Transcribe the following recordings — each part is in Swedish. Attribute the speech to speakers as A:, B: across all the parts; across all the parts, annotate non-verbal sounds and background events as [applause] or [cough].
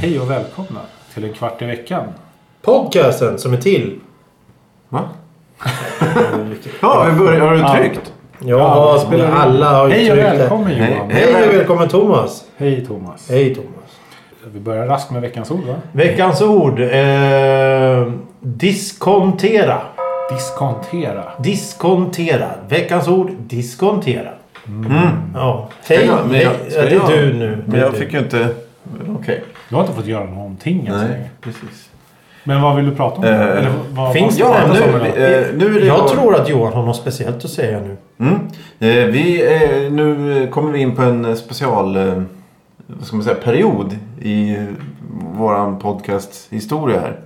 A: Hej och välkomna till en kvart i veckan.
B: Podcasten som är till.
C: Va? Ja, vi börjar. Har
A: Ja.
C: du tryckt?
B: Ja,
A: spelar in.
B: alla har ju
A: Hej och
B: tryckt det.
A: välkommen
C: Nej.
A: Johan.
C: Hej.
B: Hej och välkommen Thomas.
A: Hej Thomas.
B: Hej Thomas.
A: Vi börjar raskt med veckans ord va?
B: Veckans ord. Eh, diskontera.
A: Diskontera.
B: Diskontera. Veckans ord. Mm. Diskontera. Ja. Hej.
C: jag- men
B: hej.
C: jag-
B: ja,
C: Mm. ska
B: det är
C: jag-
B: du nu. Det
C: Men
B: är
C: jag
B: du.
C: fick ju inte... men Okej.
A: Du har inte fått göra någonting än så
C: Nej,
A: länge.
C: precis.
A: Men vad vill du prata om?
C: Eh,
A: Eller vad,
B: finns
A: vad
B: det
C: Ja,
A: vad
C: nu,
B: ändå
A: pratar vi om idag?
C: eh, nu är det...
B: Jag tror att Johan har något speciellt att säga nu.
C: Mm. Eh, vi, eh, nu eh, kommer vi in på en eh, special eh, vad ska man säga, period i eh, våran podcast historia här.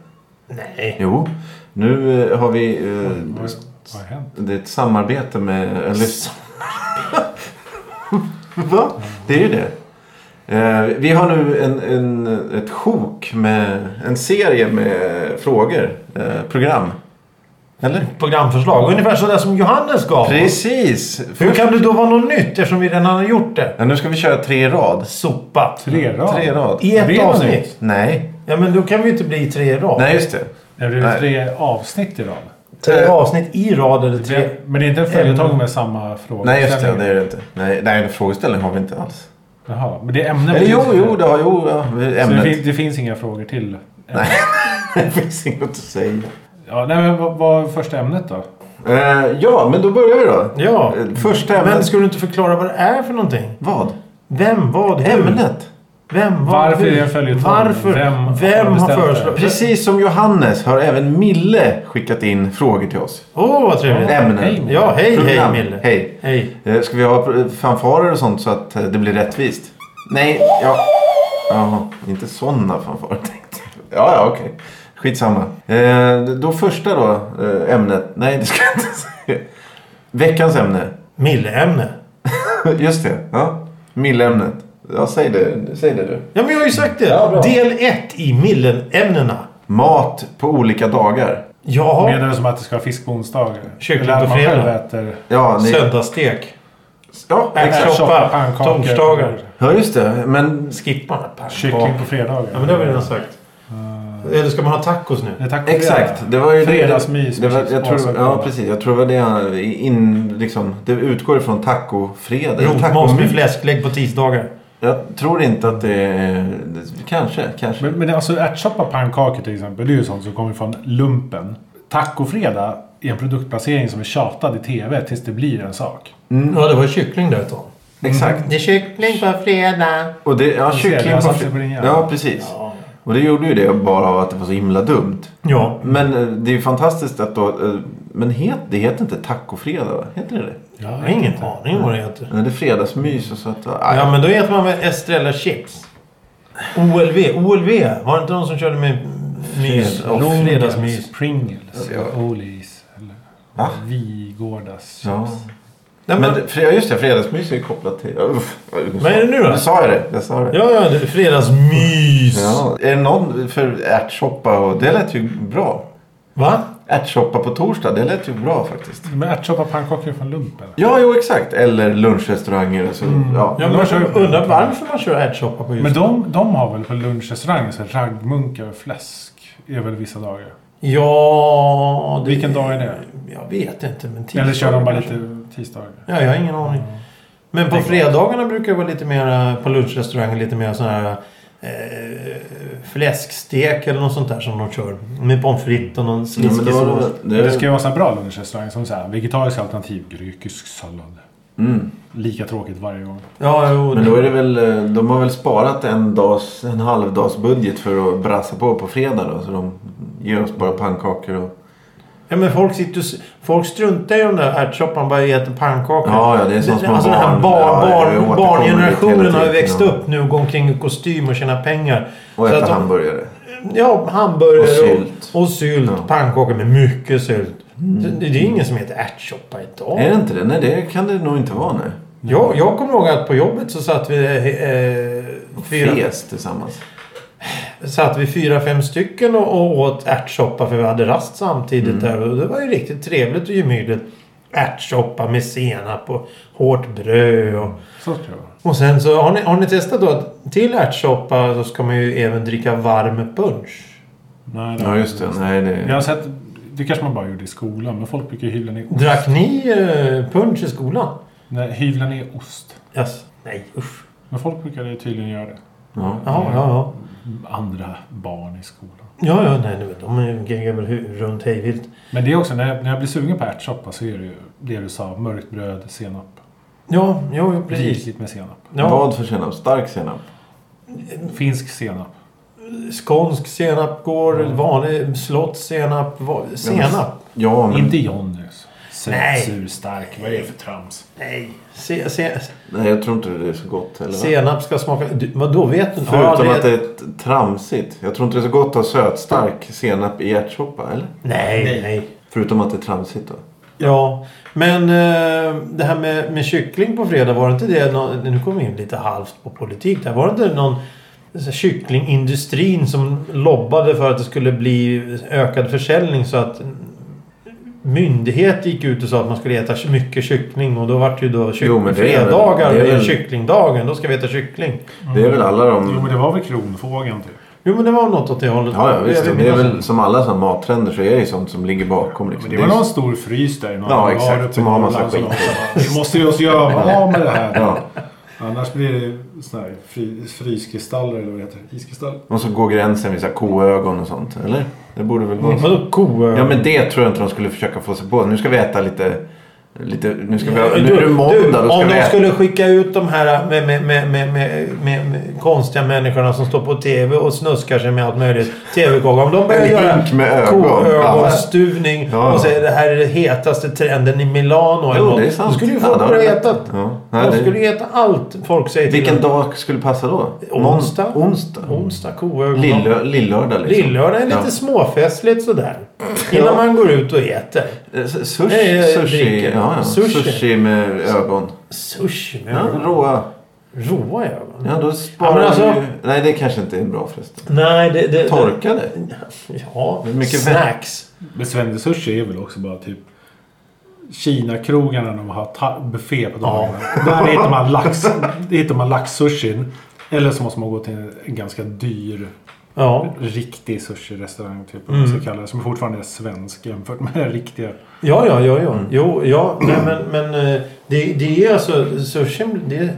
B: Nej.
C: Jo, nu eh, har vi... Eh,
A: Vad vad har hänt?
C: det är ett samarbete med... Eller, Va? Det är ju det. Eh, vi har nu en, en, ett sjok med en serie med frågor. Eh, program. Eller?
B: Programförslag. Ungefär sådär som Johannes gav.
C: Precis!
B: Hur kan det då vara något nytt eftersom vi redan har gjort det?
C: Ja, nu ska vi köra tre i rad.
B: Sopa.
A: Tre rad?
C: Tre i rad.
B: I ett
A: Det är något
B: avsnitt.
A: nytt.
C: Nej.
B: Ja men då kan vi ju inte bli tre i rad.
C: Nej, just det.
A: Är det
C: Nej.
A: tre avsnitt i rad?
B: Tre
C: Eh,
B: avsnitt i rad eller tre.
A: Det- Men det är inte en följetong med samma fråga?
C: Nej, just det. Det är det inte. Nej, nej en frågeställning har vi inte alls.
A: Jaha, men det är ämnet?
C: Eller jo, jo, det har jo. Ja,
A: Så det,
C: ämnet.
A: finns, det finns inga frågor till?
C: Nej, [laughs] det finns inget att säga.
A: Ja, nej, men vad, vad är första ämnet då?
C: Eh, ja, men då börjar vi då.
B: Ja.
C: Eh, Första ämnet.
B: Men skulle du inte förklara vad det är för någonting?
C: Vad?
B: Vem, vad, hur?
C: Ämnet.
B: Vem, vad,
A: Varför
B: hur?
A: är det en följetong?
B: Varför?
A: Vem
B: Vem,
A: har
B: har
A: bestämt
B: föreslagit?
C: Precis som Johannes har även Mille skickat in frågor till oss.
B: Åh, vad trevligt.
C: Ämnen.
A: Hej, Mille.
B: Ja, hej, hej
C: Program.
B: Mille.
C: Hej.
B: Hej.
C: Eh, Ska vi ha eh, fanfarer och sånt så att eh, det blir rättvist? Nej, ja... Ja, inte sådana fanfarer [laughs] tänkte jag. Ja, ja, okej. Skitsamma. Eh, då första då, eh, ämnet. Nej, det ska jag inte [laughs] säga. Veckans ämne. [laughs]
B: Mille-ämne.
C: Just det. Ja. Milleämnet. Ja, säg det, säg det du.
B: Ja, men jag har ju sagt det.
C: Ja, bra.
B: Del 1 i Millen-ämnena.
C: Mat på olika dagar.
B: Jaha.
A: Menar du som att det ska vara fisk på onsdagar?
B: Kyckling
A: Eller att
B: på
A: man
B: fredag.
A: själv äter?
C: Ja, ni...
B: Söndagsstek.
C: Ja, exakt.
A: Ärtsoppa,
B: Ärtsoppa.
A: pannkakor.
B: Torsdagar.
C: Ja, just det. Men
B: Skippa.
A: Kyckling på fredagar.
B: Ja, men det har vi redan sagt. Eller ska man ha tacos nu?
A: Nej, tack för
C: Exakt.
A: fredag.
C: Det var ju
A: Fredagsmys
C: Det, det var,
A: precis,
C: jag tror,
A: avsaknad.
C: ja, precis. Jag tror det var det in, liksom, Det utgår ifrån tacofredag.
B: Rotmos med
C: Tacomys.
B: fläsklägg på tisdagar.
C: Jag tror inte att det är... Kanske, kanske.
A: Men, men alltså ärtsoppa, pannkakor till exempel. Det är ju sånt som kommer från lumpen. Tacofredag är en produktplacering som är tjatad i TV tills det blir en sak.
B: Ja, det var kyckling där ett tag.
C: Mm, Exakt.
B: Det är kyckling på fredag.
C: Och det, ja,
A: ser,
C: kyckling
A: jag
C: på...
A: satte på din hjärna.
C: Ja, precis. Och det gjorde ju det bara av att det var så himla dumt.
B: Ja.
C: Men eh, det är ju fantastiskt att då... eh, Men het, det heter inte tacofredag, va? Heter det det?
B: Jag har ingen aning om vad det heter.
C: Nej, det är fredagsmys och så att... ah, aj.
B: Ja, men då äter man väl Estrella chips. OLV. OLV. Var det inte någon som körde med mys?
C: Fredag-
B: Och fredagsmys.
A: Pringles.
C: Ja.
A: Olis. Eller
C: Va?
A: Vigårdas.
C: ah, Ja.
B: Nej,
C: Men
B: men,
C: det- fre- just det, fredagsmys är ju kopplat till... Uff,
B: vad är det nu då?
C: Jag sa ju det. Jag sa det.
B: Ja, ja. det är Fredagsmys.
C: Ja, är det någon för ärtsoppa? Och, det lät ju bra.
B: Va?
C: Ärtsoppa på torsdag, det lät ju bra faktiskt.
A: Men ärtsoppa, pannkakor är från lumpen.
C: Ja, jo exakt. Eller lunchrestauranger. och Så, Mm. ja.
B: Ja,
A: men
B: men
A: jag kör-
B: jag undrar varför man kör ärtsoppa på just...
A: Men de, de har väl på lunchrestauranger så här raggmunkar och fläsk. Är väl vissa dagar.
B: Ja... det-
A: Vilken dag är det?
B: Jag vet inte, men tisdag.
A: Eller kör de bara
B: kanske.
A: lite tisdagar?
B: Ja, jag har ingen aning. Men på fredagarna brukar det vara lite mer på lunchrestauranger lite mer sån här eh, fläskstek eller något sånt där som de kör. Med pommes frites och någon
C: Ja, men
B: sliskig
C: det var-
B: sås.
A: Det
C: det-
A: ska ju vara så här bra lunchrestaurang som så här, vegetarisk alternativ, grekisk sallad.
C: Mm.
A: Lika tråkigt varje gång.
B: Ja, jo.
C: Men då är det väl, eh, de har väl sparat en, dags, en halvdags budget för att brassa på på fredag då. Så de ger oss bara pannkakor och...
B: Ja, men folk, sitter, och s- folk struntar ju i den där ärtsoppan bara äter pannkakor.
C: Ja, ja, det är sånt små
B: alltså, den här
C: barn-
B: barn,
C: ja, det
B: barn,
C: återkommer hela
B: barngenerationen
C: tiden,
B: har ju växt
C: ja.
B: upp nu och går omkring i kostym och tjänar pengar.
C: Och
B: Så
C: äta
B: att de-
C: hamburgare.
B: Ja, hamburgare
C: Och sylt.
B: Och, och sylt.
C: Ja. Mm.
B: Pannkakor med mycket sylt. Det, det är ingen som heter ärtsoppa idag.
C: Är det inte det? Nej, det kan det nog inte vara nu.
B: Jag, jag kommer ihåg att på jobbet så satt vi... Eh, fyra,
C: Fes tillsammans.
B: satt vi fyra, fem stycken och, och åt ärtsoppa för vi hade rast samtidigt där. Och det var ju riktigt trevligt och gemytligt. Ärtsoppa med senap och hårt bröd och...
A: Så ska det vara.
B: Och sen så har ni, har ni testat då att till ärtsoppa så ska man ju även dricka varm punsch.
A: Nej, det
C: Ja, just det. Nej,
A: Jag
C: det...
A: har sett... Det kanske man bara gjorde i skolan, men folk brukar ju hyvla ner ost.
B: Drack ni eh, punsch i skolan?
A: Nej, hyvla ner ost.
B: Yes. Nej, usch.
A: Men folk brukar ju tydligen göra det.
C: Ja.
B: Ja, ja, ja.
A: Andra barn i skolan.
B: Ja, ja, nej, nej, de är ju geggar väl hu- runt hejvilt.
A: Men det är också, när jag, när jag blir sugen på ärtsoppa så är det ju det du sa. Mörkt bröd, senap.
B: Ja, jo, jo, precis.
A: Rikligt med senap.
B: Ja,
C: Vad för senap? Stark senap?
A: Finsk senap.
B: skånsk senap går, vanlig slottsenap, va- senap.
C: Ja, men...
A: Inte Johnnys. Söt,
B: Nej.
A: sur, stark. Vad är det för trams?
B: Nej, se, se,
C: Nej, jag tror inte det är så gott heller. va?
B: senap ska smaka... Du, vadå, vet du? inte?
C: Förutom
B: Ja,
C: att det är t- tramsigt. Jag tror inte det är så gott att ha sötstark senap i ärtsoppa, eller?
B: Nej,
A: Nej.
B: nej.
C: Förutom att det är tramsigt då.
B: Ja, men eh, det här med, med kyckling på fredag, var det inte det någon, Nu kom vi in lite halvt på politik där. Var det inte någon så här, kycklingindustrin som lobbade för att det skulle bli ökad försäljning så att mm, myndighet gick ut och sa att man skulle äta mycket kyckling och då vart det ju då kyck-
C: Jo, men det är väl-
B: fredagar
C: det är
B: och
C: väl-
B: kycklingdagen. Då ska vi äta kyckling.
C: Det är väl alla
A: Jo,
C: de...
A: men det var väl kronfågeln typ.
B: Jo men det var något åt det hållet.
C: Ja, ja visst.
B: Jag
C: Det är
B: minns-
C: väl som alla sådana mattrender så är det ju sånt som ligger bakom.
A: Men
C: Liksom.
A: det
C: Det
A: var
C: är-
A: någon stor frys där i några
C: Ja,
A: dagar
C: exakt.
A: uppe i
C: Som har massa
A: Norrland som
C: skit.
A: de sa, Vi måste ju oss göra av med det här.
C: Ja.
A: Annars blir det såna här fri, fryskristaller eller vad det heter. Iskristaller.
C: Och så går gränsen vid så här koögon och sånt, eller? Det borde väl vara så.
B: Vadå koögon?
C: Ja, men det tror jag inte de skulle försöka få sig på. Nu ska vi äta lite... lite nu, ska vi,
B: Du,
C: nu är det
B: du,
C: måndag, då ska
B: om
C: vi
B: de
C: äta.
B: skulle skicka ut de här äh, med, med, med, med, med, med, med konstiga människorna som står på TV och snuskar sig med allt möjligt. TV-kaka. Om de börjar
C: En
B: göra
C: hink med ögon.
B: koögonstuvning
C: Ja.
B: och säger det här är den hetaste trenden i Milano eller
C: Jo, det är
B: något. Då
C: sant.
B: Alltså, skulle ju
C: Ja,
B: folk
C: det har
B: börja
C: du
B: äta.
C: rätt. Ja. Nej,
B: de
C: det-
B: skulle ju äta allt folk säger till
C: Vilken
B: dem.
C: dag skulle passa då?
B: Onsdag.
C: Mån- Onsdag.
B: Onsdag, koögon.
C: Lillö- Lillördag liksom.
B: Lillördag är lite
C: Ja.
B: småfestligt sådär. Innan
C: Ja.
B: man går ut och äter.
C: Eh, s- Sushi,
B: Nej, eh,
C: sushi,
B: dricker.
C: ja, ja.
B: Sushi.
C: Sushi. med ögon.
B: Sushi med
C: Ja,
B: ögon.
C: råa.
B: råa ögon.
C: Ja, då
B: Ja,
C: sparar
B: men
C: du
B: alltså-
C: ju... Nej, det kanske inte är bra förresten.
B: Nej, det... det det-
C: Torkade?
B: Ja,
C: Hur mycket
B: snacks.
A: Men Svennesushi är väl också bara typ Kina-krogarna när de har ta- buffé på dagarna. Där hittar man, lax, där hittar man laxsushin. Eller så måste man gå till en ganska dyr
B: Ja.
A: riktig sushi-restaurang. Typ, vad man ska kalla det, som fortfarande är svensk jämfört med den riktiga.
B: Ja, ja, ja,
C: Mm.
B: ja. Jo, ja. Nej, men, men eh, det, det är alltså sushin. Det,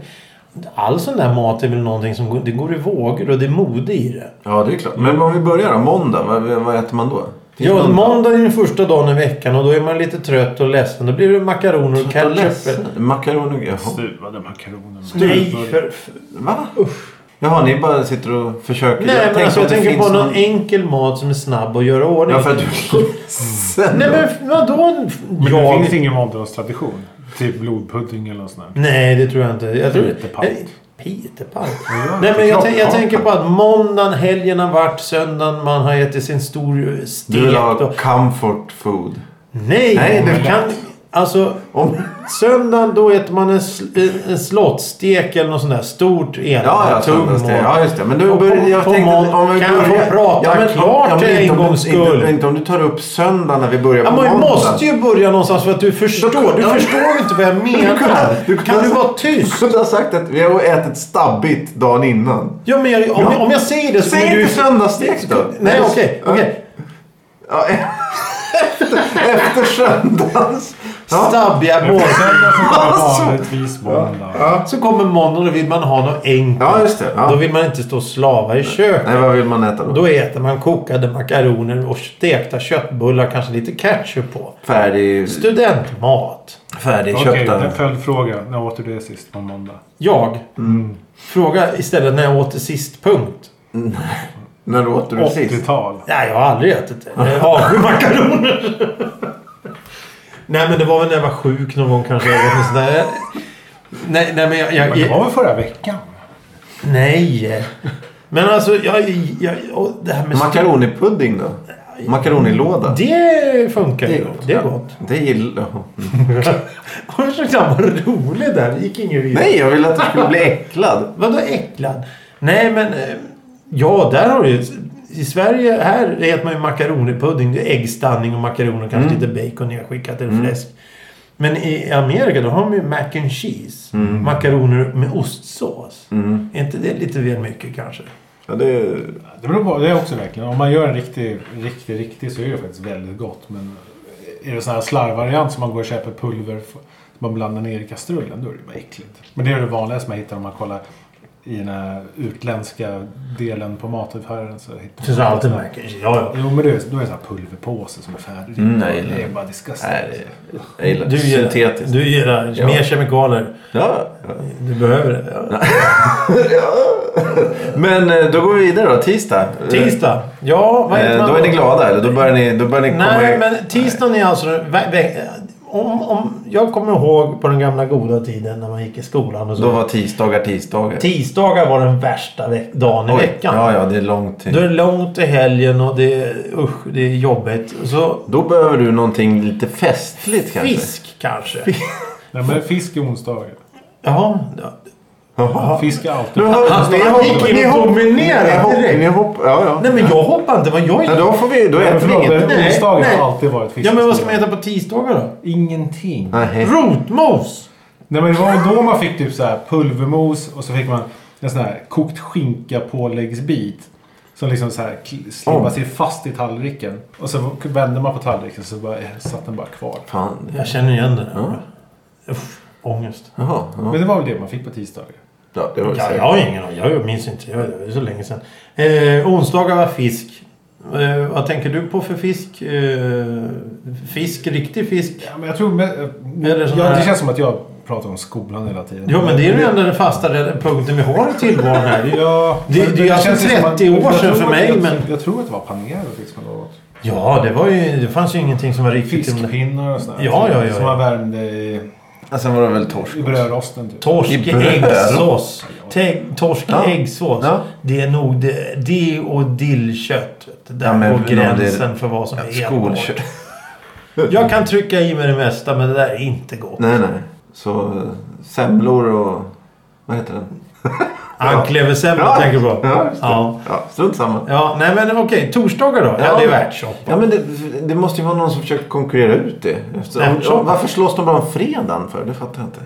B: all sån där mat är väl någonting som går, det går i vågor och det är mode i det.
C: Ja, det är klart. Men om vi börjar då, måndag. Vad, vad äter man då? Finns
B: Ja,
C: någon-
B: måndag är den första dagen i veckan och då är man lite trött och ledsen. Då blir det makaroner och
C: Jag är
B: ketchup.
C: ledsen. Makaroner? Jaha.
A: Stuvade makaroner.
B: Nej,
A: Stuvade.
B: för, för,
C: Va? Jaha, ni bara sitter och försöker.
B: nej men
C: tänker
B: alltså,
C: om
B: jag
C: det
B: tänker
C: finns
B: på någon enkel mat som är snabb att göra i ordning.
C: Ja, för att du är ledsen.
B: [laughs] Nej, men vadå?
A: Men det
B: Jag-
A: finns ingen måndagstradition. Typ blodpudding eller något sånt där.
B: Nej, det tror jag inte. Jag tror,
A: Peterpalt.
B: Eh, Peterpalt?
A: Ja,
B: Nej, men jag,
A: klart.
B: tän- jag tänker på att måndagen, helgen har varit, söndagen, man har ätit sin stor
C: Du vill
B: stek.
C: ha
B: Och...
C: comfort food.
B: Nej,
C: Nej, det-
B: man kan... Alltså,
C: Om...
B: söndagen då äter man en, sl- eh, en slottstek eller något sånt där stort enat.
C: Ja, ja,
B: tum
C: söndags
B: och-
C: det. Ja, just det. Men du
B: Och på-
C: börjar... Jag
B: på
C: tänkte...
B: mån- kan jag få prata klart en
C: inte om
B: gång
C: du-
B: skull?
C: Inte, inte om du tar upp söndag när vi börjar
B: Ja,
C: på
B: man
C: måndag. [laughs]
B: måste ju börja någonstans för att du förstår. Du
C: Ja.
B: förstår ju inte vad jag
C: Du kunde-
B: menar.
C: du kunde-
B: kan du vara tyst?
C: kunde ha sagt att vi har ätit stabbigt dagen innan.
B: Ja, men jag, om, jag, om jag säger det så
C: Säg
B: blir du...
C: inte söndagsstek då.
B: Nej, okej.
C: Ja.
B: okej.
C: Ja, [laughs] efter, efter söndagens. Ja.
B: Stabbiga mål.
A: Söndag så kommer vanligtvis måndag.
B: Så kommer måndagen och vill man ha något enkelt.
C: Ja, just det. Ja.
B: Då vill man inte stå och slava i köket.
C: Nej, vad vill man äta då?
B: Då äter man kokade makaroner och stekta köttbullar, kanske lite ketchup på.
C: Färdig,
B: Studentmat.
A: Okej,
C: färdigköpta.
A: en följdfråga. När åt du det sist på måndag?
B: Jag. Fråga istället när jag åt det sist, punkt.
C: När åt du det sist?
A: 80-tal.
B: Nej, jag har aldrig ätit det. Jag avskyr makaroner. nej, men det var väl när jag var sjuk någon gång kanske. eller något sånt där. Nej, nej, men jag... jag,
A: Men det var väl förra veckan?
B: Nej. Men alltså, jag, jag, och det här med...
C: Makaronipudding då? Makaronilåda.
B: Det funkar
C: Det
B: ju.
C: är gott.
B: Det är
C: Ja.
B: gott. [laughs]
C: Det gillar jag.
B: Hon försökte vara rolig där. Det gick ingen vidare.
C: Nej, jag ville att du skulle bli äcklad.
B: Vadå äcklad? Nej men... eh, Ja, där har du ju... I Sverige, här äter man ju makaronerpudding. Det är äggstanning och makaroner.
C: Mm.
B: Kanske lite bacon nedskickat eller fläsk. Men i Amerika då har de ju mac and cheese.
C: Mm.
B: Makaroner med ostsås. Är inte det lite väl mycket kanske?
C: Ja, det...
A: Det beror på, det är också verkligen. Om man gör en riktig, riktig, riktig så är det faktiskt väldigt gott. Men är det sån här slarvvariant som man går och köper pulver f- som man blandar ner i kastrullen, då är det bara äckligt. Men det är det vanligaste man hittar om man kollar i den här utländska delen på mataffären. Så hittar
B: Finns
A: man
B: alltid mac and cheese. Ja, ja.
A: Jo, men det är, då är det sån här pulverpåse som är färdig.
C: Mm, nej,
A: det är
C: nej.
A: bara disgusting.
C: Nej, det- jag gillar
B: Du gillar,
C: syntetiskt.
B: du gillar
C: Ja.
B: mer kemikalier.
C: Ja. ja.
B: Du behöver det. Ja.
C: Men eh, då går vi vidare då. Tisdag. Eh,
B: Tisdag. Ja, vad heter
C: Eh,
B: man
C: Då är ni glada eller? Då börjar ni, då börjar ni komma
B: Nej,
C: i-
B: men tisdagen är alltså... den ve- ve- Om, om, jag kommer ihåg på den gamla goda tiden när man gick i skolan och så.
C: Då var tisdagar tisdagar.
B: Tisdagar var den värsta ve- dagen i
C: Oj,
B: veckan.
C: Ja, ja, det är lång tid.
B: Då är det långt till helgen och det är, usch, det är jobbigt. Så
C: Då behöver du någonting lite festligt kanske.
B: fisk kanske.
A: Nej, men fisk är onsdagar.
B: Jaha. ja.
C: Jaha.
A: Fisk är alltid...
C: Du hör,
B: Alltså,
C: ni
B: han
C: hopp-
B: gick ju
C: ni hopp-
B: dominerande
C: ni hopp-
B: direkt.
C: Ni hopp, ja, ja.
B: Nej, men jag hoppar inte. Vad jag
C: Ja, då får vi, då
A: Nej,
C: äter vi
A: förlåt,
C: inget.
A: men
B: Nej,
A: onsdagar
B: nej.
A: har alltid varit fisk.
B: Ja, men vad ska man äta på tisdagar då?
A: Ingenting.
C: Nej.
B: Rotmos!
A: Nej men det var då man fick typ så här pulvermos och så fick man en sån här kokt skinka påläggsbit. Som liksom så här kl- slibbar
C: Oh.
A: sig fast i tallriken. Och så vände man på tallriken så bara, eh, satt den bara kvar.
C: Fan.
B: Jag känner igen det där. Usch, ångest.
C: Jaha. Ja,
A: Men det var väl det man fick på tisdagar.
C: ja, det var ju
B: Ja,
C: säkert.
B: jag har ingen aning. Jag minns inte. Jag, det är så länge sedan. Eh, onsdagar var fisk. Eh, vad tänker du på för fisk? Eh, fisk? Riktig fisk?
A: Ja, men jag tror... Med,
B: Eller sån
A: ja,
B: här-
A: det känns som att jag pratar om skolan hela tiden.
B: Ja, men det är ju den enda fasta re- punkten vi har i tillvaron här.
C: [laughs]
B: Det är ju-
A: Ja,
B: Det-
A: men
B: det är alltså
A: känns ju som att-
B: 30 år
A: jag
B: sedan
A: tror
B: för
A: att-
B: mig,
A: jag,
B: men-
A: Jag tror att det var Panero fisk man åt.
B: Ja, det var ju... Det fanns ju ingenting som var riktigt...
A: Fiskpinnar och sånt där.
B: Ja, ja, ja,
A: Som
B: ja.
A: man värmde i,
C: Ja, sen var det väl torsk
A: i
C: också.
A: brödrosten typ.
B: Torsk i
C: I bröd.
B: äggsås. Te- Torsk
C: Ja.
B: i äggsås.
C: Ja.
B: Det är nog det, det och dillkött. vet du. Där
C: Ja, men
B: går
C: om det är-
B: gränsen för vad som är ätbart.
C: Skolkö-
B: Jag kan trycka i mig det mesta men det där är inte gott.
C: Nej, nej. Så eh, semlor och... Vad heter den?
B: Anklevesemla
C: Ja.
B: tänker du på.
C: Ja, just det.
B: ja.
C: Ja, strunt samma.
B: ja, nej men okej. Torsdagar då? Ja,
C: Ja.
B: det är värtshoppa.
C: Ja, men det, det måste ju vara någon som försöker konkurrera ut det.
B: Nej,
C: Eftersom,
B: men så-
C: varför slås de bara om fredagen för? Det fattar jag inte.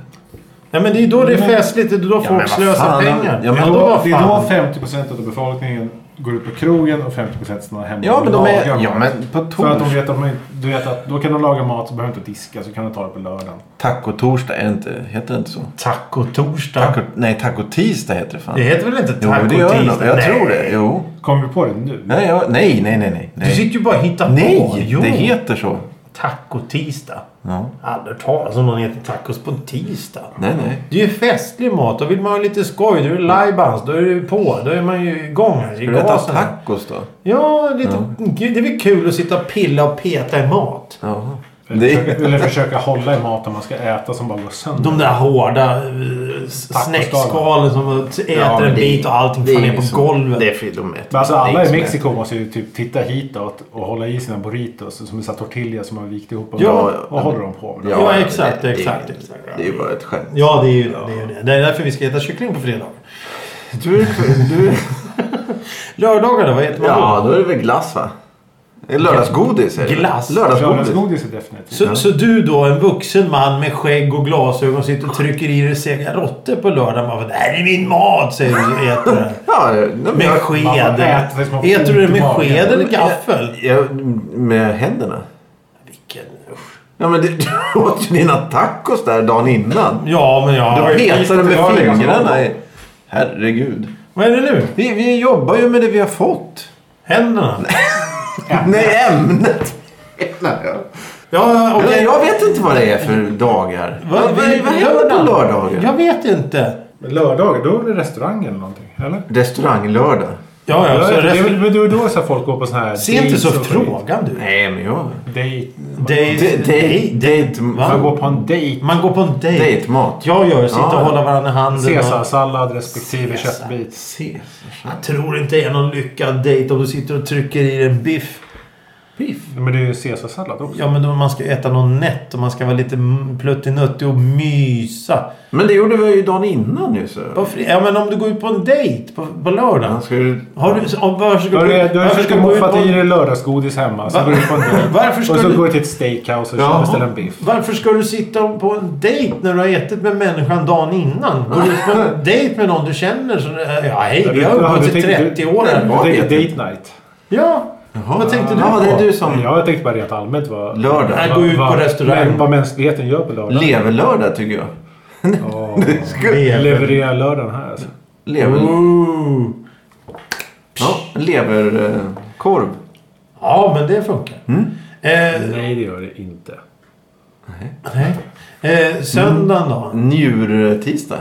B: Nej men det är då det är festligt. Det är då folk
C: Mm. men vad
B: slösar
C: fan.
B: pengar.
C: Ja, men
A: Det är då-
B: Ja, vad
A: det är
B: fan.
A: då 50% av befolkningen går ut på krogen och 50% stannar hemma.
C: Ja,
A: och
C: men de är...
A: lagar
C: Ja,
A: mat.
C: men på tors...
A: För att de vet att, de, du vet att då kan de laga mat så behöver de inte diska så kan de ta det på lördagen.
C: Tacotorsdag, är det inte... Heter det inte så?
B: Tacotorsdag.
C: Taco... Nej, tacotisdag heter det fan.
B: Det heter väl inte
C: Jo, men det
B: tacotisdag?
C: gör det nog. Jag
B: Nej.
C: tror det. Jo.
A: Kommer vi på det nu?
B: [laughs]
C: Nej, jag... nej, nej, nej, nej.
B: Du sitter ju bara och hittar på.
C: Nej,
B: Jo.
C: det heter så.
B: Tacotisdag.
C: Ja.
B: Aldrig talas om någon äter tacos på en tisdag.
C: Nej, nej.
B: Det är ju festlig mat. Då vill man ha lite skoj. Då är det lajbans. Då är det på. Då är man ju igång här i
C: Ska du äta
B: gasen.
C: tacos då?
B: Ja, lite, Gud, det är väl kul att sitta och pilla och peta i mat.
C: Ja.
A: Eller,
C: Det...
A: försöka, eller försöka hålla i maten man ska äta som bara går sönder.
B: De där hårda uh, snäckskalen som äter
C: Ja, men
B: en
C: det-
B: bit och allting fan ner på golvet.
C: Det är fridomet.
A: Men alltså alla i Mexiko måste ju typ titta hitåt och hålla i sina burritos som är så här tortillas som man vikt ihop. Och
B: Ja.
A: Vad håller de på med?
B: Ja. exakt, exakt,
C: Det,
B: exakt.
C: det är ju bara ett skämt.
B: Ja, det är ju det. Är ju det. det är därför vi ska äta kyckling på fredag.
C: Du, du...
B: Lördagar då? Vad äter man
C: [laughs] Ja,
B: då?
C: då är det väl glass va? Det är Lördagsgodis är det.
B: Glass.
C: Lördagsgodis.
A: Lördagsgodis är definitivt.
B: Så, så du då, en vuxen man med skägg och glasögon, sitter och trycker i dig sega råttor på lördag. Man bara, det här är min mat, säger du och
A: [laughs]
B: äter den.
C: Ja, nej, men
B: Med
C: jag,
B: sked.
A: Man bara äter tills man får
B: Äter du det
A: ont i
B: med
A: magen.
B: sked eller gaffel?
C: jag, med händerna.
B: Vilken usch.
C: Ja, men du, [laughs] du åt ju dina tacos där dagen innan.
B: Ja, men jag...
C: Du petade med
A: rörliga som
C: fingrarna.
A: var.
C: i- Herregud.
B: Vad är det nu?
C: Vi, vi jobbar ju med det vi har fått.
B: Händerna?
C: Nej, ämnet. Nej, ja.
B: Ja, okej.
C: Men jag vet inte vad det är för dagar. Vad, vad, vad, händer på lördagar?
B: Jag vet inte.
A: Men lördagar, då är det restaurang eller någonting? Eller?
C: Restauranglördag.
B: Ja, ja. Så
A: det är
B: resten...
A: väl det är väl då så här folk går på såna här...
B: Se inte så
A: dates och skit.
B: frågande ut.
C: Nej, men jag...
A: Date.
B: Date-
C: Date- date-
B: Va?
A: Man går på en dejt.
B: Man går på en dejt.
C: Dejtmat.
B: Jag gör sitta
C: Ja.
B: och hålla varandra i handen. och-
A: Caesarsallad respektive
B: Caesar.
A: köttbit.
C: Ses.
B: Jag tror inte det är någon lyckad dejt om du sitter och trycker i en biff. Biff?
A: Men det är ju caesarsallad också.
B: Ja, men då man ska äta något nätt och man ska vara lite m- pluttinuttig och mysa.
C: Men det gjorde vi ju dagen innan ju. Så.
B: Varför, ja, men om du går ut på en dejt på, på lördag.
C: Han ska ju...
B: Har du, om, varför ska
A: Du har,
B: du,
A: du har
B: varför
A: försökt
B: ska du gå ut
A: moffa
B: på
A: i dig
B: en,
A: lördagsgodis hemma. Så
B: Va-
A: går du på en dejt.
B: [laughs] Varför ska
A: och så
B: du-
A: går du till ett steakhouse och
C: Jaha.
A: ja. beställer en biff.
B: varför ska du sitta på en dejt när du har ätit med människan dagen innan? Går du ut på en dejt med någon du känner så... Ja, hej, vi har
A: Ja,
B: umgåtts
A: du
B: i
A: tänkte-
B: 30 år här.
C: Ja,
A: Det är
C: jag vet
A: date night.
B: Ja, vad tänkte du
C: Ja, det är
B: på?
C: du som...
A: Ja, jag tänkte bara rent allmänt vad...
C: Lördag.
B: Nej, gå ut på restaurang.
A: Men vad mänskligheten gör på lördag.
C: Leverlördag tycker jag. [laughs]
A: Åh, Leverera lördagen här alltså.
B: Mm.
C: Lever...
B: Ooh.
C: Ja, eh, leverkorv.
B: Ja, men det funkar. Eh,
A: Nej, det gör det inte.
B: nej. Eh, söndagen då?
C: Njurtisdag.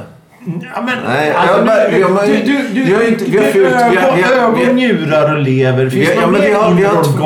B: Ja, men,
C: Mm. Nej,
B: alltså,
C: jag bara-
B: du,
C: jag bara-
B: du, du, du,
C: vi har ju inte- vi har
B: du-
C: fyllt- vi har- vi har- vi har-
B: ögon, njurar och lever. Finns
C: Vi-
B: det
C: ja,
B: något
C: men vi har- vi har-
B: mer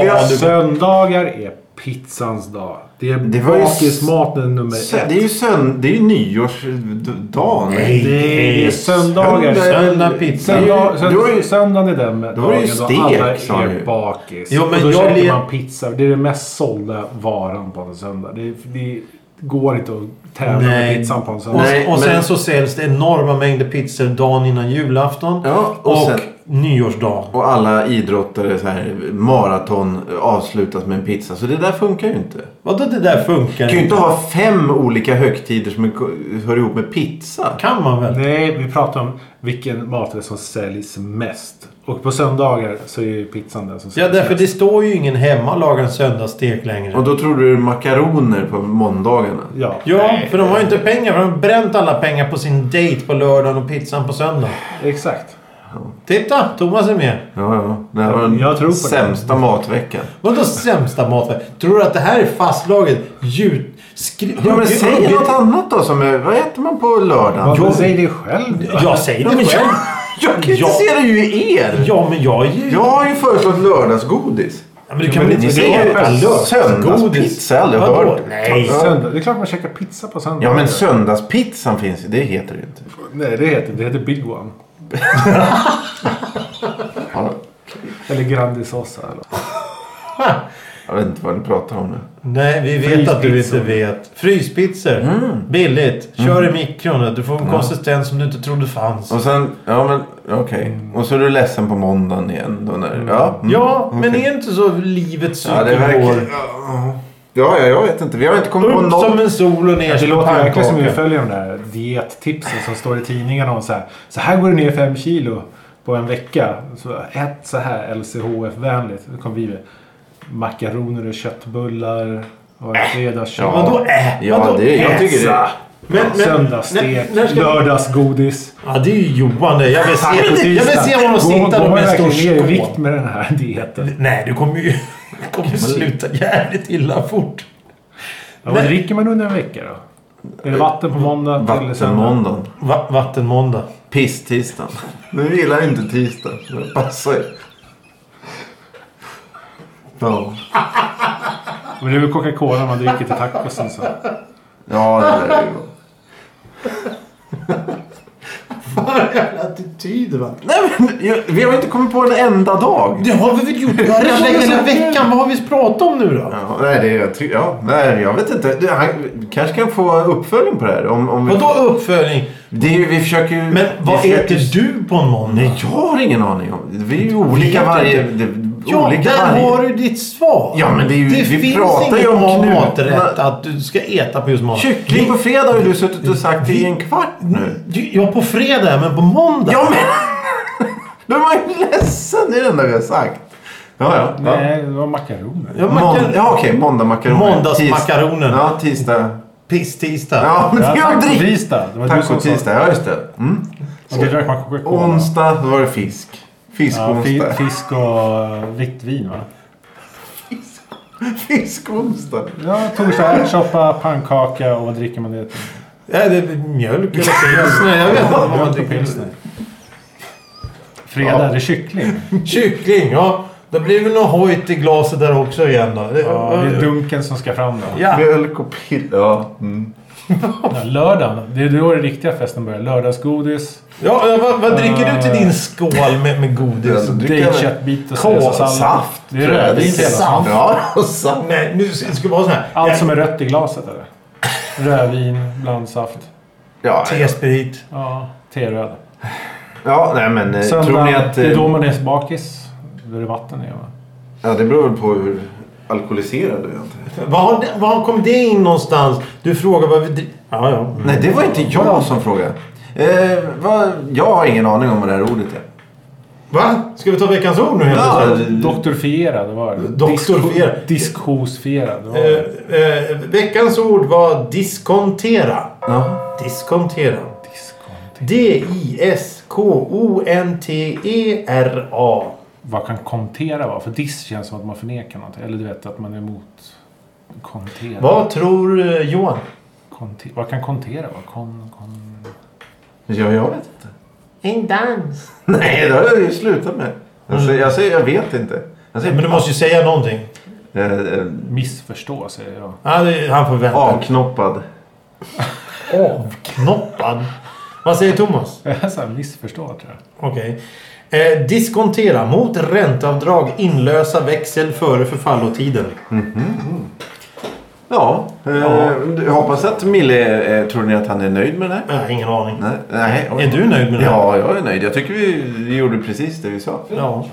C: vi har-
B: organ du-
A: Söndagar är pizzans dag. Det är
C: Det var ju-
A: bakismaten nummer
C: Sö-
A: ett.
C: Det är ju sönd... Det är ju nyårsdagen.
B: Nej.
A: Det är söndagar.
C: Söndag-
B: Söndag pizza.
C: Det är ju-
A: Söndag,
C: då är
A: söndag,
C: ju-
A: söndagen är den
C: då är det ju
A: dagen
C: stek,
A: då alla
C: sa
A: är
C: du.
A: bakis.
B: Jo, men
A: och då
B: jag
A: käkar
B: le-
A: man pizza. Det är den mest sålda varan på en söndag. Det, det går inte att tävla
B: Nej.
A: med pizzan på en
B: Och,
A: söndag.
C: Nej,
B: och sen
C: men-
B: så säljs det enorma mängder pizzor dagen innan julafton.
C: Ja,
B: och
C: och sen-
B: nyårsdagen.
C: Och alla idrottare så här maraton eh, avslutas med en pizza. Så det där funkar ju inte.
B: Vadå det där funkar?
C: Du kan ju inte ha fem olika högtider som är- hör ihop med pizza.
B: Kan man väl?
A: Nej, vi pratar om vilken maträtt som säljs mest. Och på söndagar så är ju pizzan den som
B: Ja,
A: säljs
B: därför
A: mest.
B: det står ju ingen hemma och lagar en söndagsstek längre.
C: Och då tror du makaroner på måndagarna.
A: Ja,
B: Ja, för de har ju inte pengar. För de har bränt alla pengar på sin dejt på lördagen och pizzan på söndag.
A: exakt.
B: Titta, Thomas är med.
C: Ja, ja. Det här var den
A: Jag tror på det.
C: sämsta matveckan.
B: Vadå sämsta matvärld? Tror du att det här är fastlaget? Ljud... Skri...
C: Ja, men
B: hugget-
C: säg
B: hugget-
C: något annat då. Som är, vad äter man på lördagen?
A: Varför
B: Jag-
A: säger det själv då?
B: Jag säger
C: Ja, men
B: det
C: jag,
B: själv.
C: jag
B: Ja.
C: kritiserar ju er.
B: Ja, men jag är ju...
C: Jag har ju föreslagit lördagsgodis.
B: Ja, men du kan
A: men
B: väl
A: ni
B: inte
A: säger
B: säga
A: ju
B: äta lök?
C: söndagspizza, jag har aldrig
B: Vadå?
C: hört.
B: Nej.
A: Söndag. Det är klart man käkar pizza på söndagar.
C: Ja, men söndagspizzan finns ju. Det heter det ju inte.
A: Nej, det heter det. heter Big One.
C: Ja,
A: Eller Grandiosa. Eller.
C: Jag vet inte vad ni pratar om nu.
B: Nej, vi vet att du inte vet. Fryspizzor.
C: Mm.
B: Billigt. Kör i mikron. Du får en konsistens som du inte trodde fanns.
C: Och sen, ja men okej. Och så är du ledsen på måndagen igen då när, ja. mm,
B: Mm. Ja, men
C: okej.
B: är inte så livets
C: Ja, det
B: cykel
C: verkar...
B: går?
C: Ja, ja, jag vet inte. Vi har inte kommit på
B: Upp
C: något.
B: som en sol och ner
A: Det
B: som en
A: låter verkligen som vi
B: pannkaka.
A: följer de där diettipsen som står i tidningarna om så här. Så här går du ner fem kilo på en vecka. Så ät så här LCHF-vänligt. Då kom vi med makaroner och köttbullar. Och en fredagskött.
C: Ja.
B: Vadå äh?
C: Ja,
B: Vadå
C: det är, jag
B: äh?
C: tycker det.
B: Men- men-
A: Söndagsstek,
B: när- när ska-
A: lördagsgodis.
B: Ja, det är ju Johan det. Jag vill se, jag vill, jag vill se honom
A: Går-
B: sitta
A: går
B: där
A: man
B: med en stor
A: verkligen ner i vikt
B: skål.
A: med den här [laughs] dieten?
B: Nej, du kommer ju du kommer ju sluta jävligt illa fort.
A: Ja, vad
B: Nej.
A: dricker man under en vecka då? Är det vatten på måndag till söndag?
C: Vattenmåndagen.
B: Va, vattenmåndag.
C: Piss-tisdagen. Nu gillar jag inte tisdag. Det passar ju. Ja.
A: Men det är väl Coca-Cola man dricker till tacosen så.
C: Ja, det där är ju...
B: Vad jävla attityd va?
C: Nej, men jag- vi har inte kommit på en enda dag.
B: Det har vi väl [laughs] gjort varje dag hela veckan. Vad har vi pratat om nu då?
C: Ja, nej, det är, jag ty- ja, nej, jag vet inte. Du, han, vi kanske kan få uppföljning på det här. Om, om vi,
B: Vadå uppföljning?
C: Det är ju, vi försöker ju...
B: Men
C: vi
B: vad
C: försöker-
B: äter du på en måndag?
C: Nej, jag har ingen aning om. Vi är ju olika
B: Vet
C: varje...
B: inte.
C: det-
B: Ja,
C: olika
B: där
C: varje.
B: har du ditt svar.
C: Ja, men det är ju- vi
B: finns
C: pratar ju
B: inget
C: om
B: om
C: knut-
B: maträtt att du ska äta på just måndag.
C: Kyckling på fredag har ju du suttit och sagt i en kvart nu.
B: Ja, på fredag, men på måndag.
C: Ja, men... [laughs] Då är man ju ledsen. Det är det enda vi har sagt. Ja, ja. ja.
A: Nej, det var makaroner.
B: Ja, man
C: Månd-
B: kan-
C: ja okej. Måndagsmakaroner.
B: Måndagsmakaroner.
C: Tis- Ja, tisdag.
B: Piss-tisdag.
C: Ja, men det är ju drick.
A: Tacotisdag. Det var du som sa
C: Tacotisdag, ja just det. Mm.
A: Och då drack man Coca-Cola.
C: Onsdag, då var det fisk.
A: Ja, fi-
C: Fiskonsdag. [laughs]
A: fisk och eh, vitt vin va?
C: Fiskonsdag.
A: Ja, torsdag ärtsoppa, pannkaka och vad dricker man det till?
B: Ja, det är mjölk eller pilsner. Jag vet inte vad man
A: Mjölk och
B: dricker.
A: pilsner. Fredag, det är kyckling.
B: Kyckling, ja. Då blir det väl någon hojt i glaset där också igen då. Det-
A: Ja, det är dunken som ska fram då.
B: ja.
C: Mjölk och pill. Ja. Mm.
A: Ja, lördagen. Det är då den riktiga festen börjar. Lördagsgodis,
B: Ja, eh, vad, vad dricker du till din skål med, med [laughs] godis?
C: Ja, dricker jag väl-
A: dateköttbit och
B: Kol,
A: caesarsallad.
C: Saft.
A: Det är
C: tror jag.
A: rödvin
C: Det är
A: hela
C: saft. Ja, [laughs] saft.
B: Nej, nu ska ska det vara så här.
A: Allt som är rött i glaset eller? Rödvin, blandsaft.
C: Ja, ja.
B: T-sprit.
A: Ja, teröd.
C: ja, nej men eh, tror ni
A: Söndag,
C: att... eh,
A: det är då man är bakis. Då är det vatten i. va?
C: Ja, det beror väl på hur alkoholiserad du är. antar jag.
B: Var, har det- var kom det in någonstans? Du frågar vad vi dricker. Ja, ja. Mm.
C: Nej, det var inte jag som frågade. Eh, vad, jag har ingen aning om vad det här ordet är.
B: Va? Ska vi ta veckans ord nu helt
C: Ja,
B: plötsligt?
A: Doktorfierad var det.
B: Doktorfierad.
A: Disk- Diskhosfierad var det.
B: Eh, eh, veckans ord var diskontera.
C: ja.
B: Diskontera.
A: Diskont.
B: E D-I-S-K-O-N-T-E-R-A.
A: Vad kan kontera vara? För diss känns som att man förnekar något. Eller du vet att man är emot. Kontera.
B: Vad tror eh, Johan?
A: Konte- vad kan kontera vara? Kon, kon...
C: ja, jag vet inte. [laughs]
B: En dans.
C: Nej, det har jag ju slutat med. Jag säger, jag, säger, jag vet inte. Jag säger,
B: Men du måste ju säga någonting.
A: Mm.
C: eh, eh,
A: Missförstå säger jag. [laughs]
B: Ja, det- Han får vänta.
C: avknoppad.
B: Avknoppad. Vad säger Thomas?
A: Jag är så här missförstå tror jag.
B: Okej. Eh, diskontera mot ränteavdrag, inlösa växel före förfallotiden.
C: Ja, eh, jag hoppas att Mille... Eh, tror ni att han är nöjd med det här?
B: Jag har ingen aning.
C: Nej. nej oj.
B: Är du nöjd med det här?
C: Ja, jag är nöjd. Jag tycker vi, vi gjorde precis det vi sa.
B: Ja.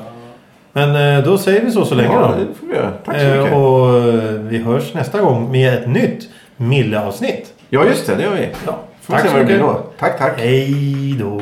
B: Men eh, då säger vi så så länge
C: Ja,
B: då.
C: det får vi göra. Tack så mycket.
B: Eh, och eh, vi hörs nästa gång med ett nytt Mille-avsnitt.
C: Ja, just det. Det gör vi.
B: Ja.
C: Får vi
B: Tack
C: se
B: så
C: vad det blir
B: mycket.
C: då. Tack, tack.
B: Hej då.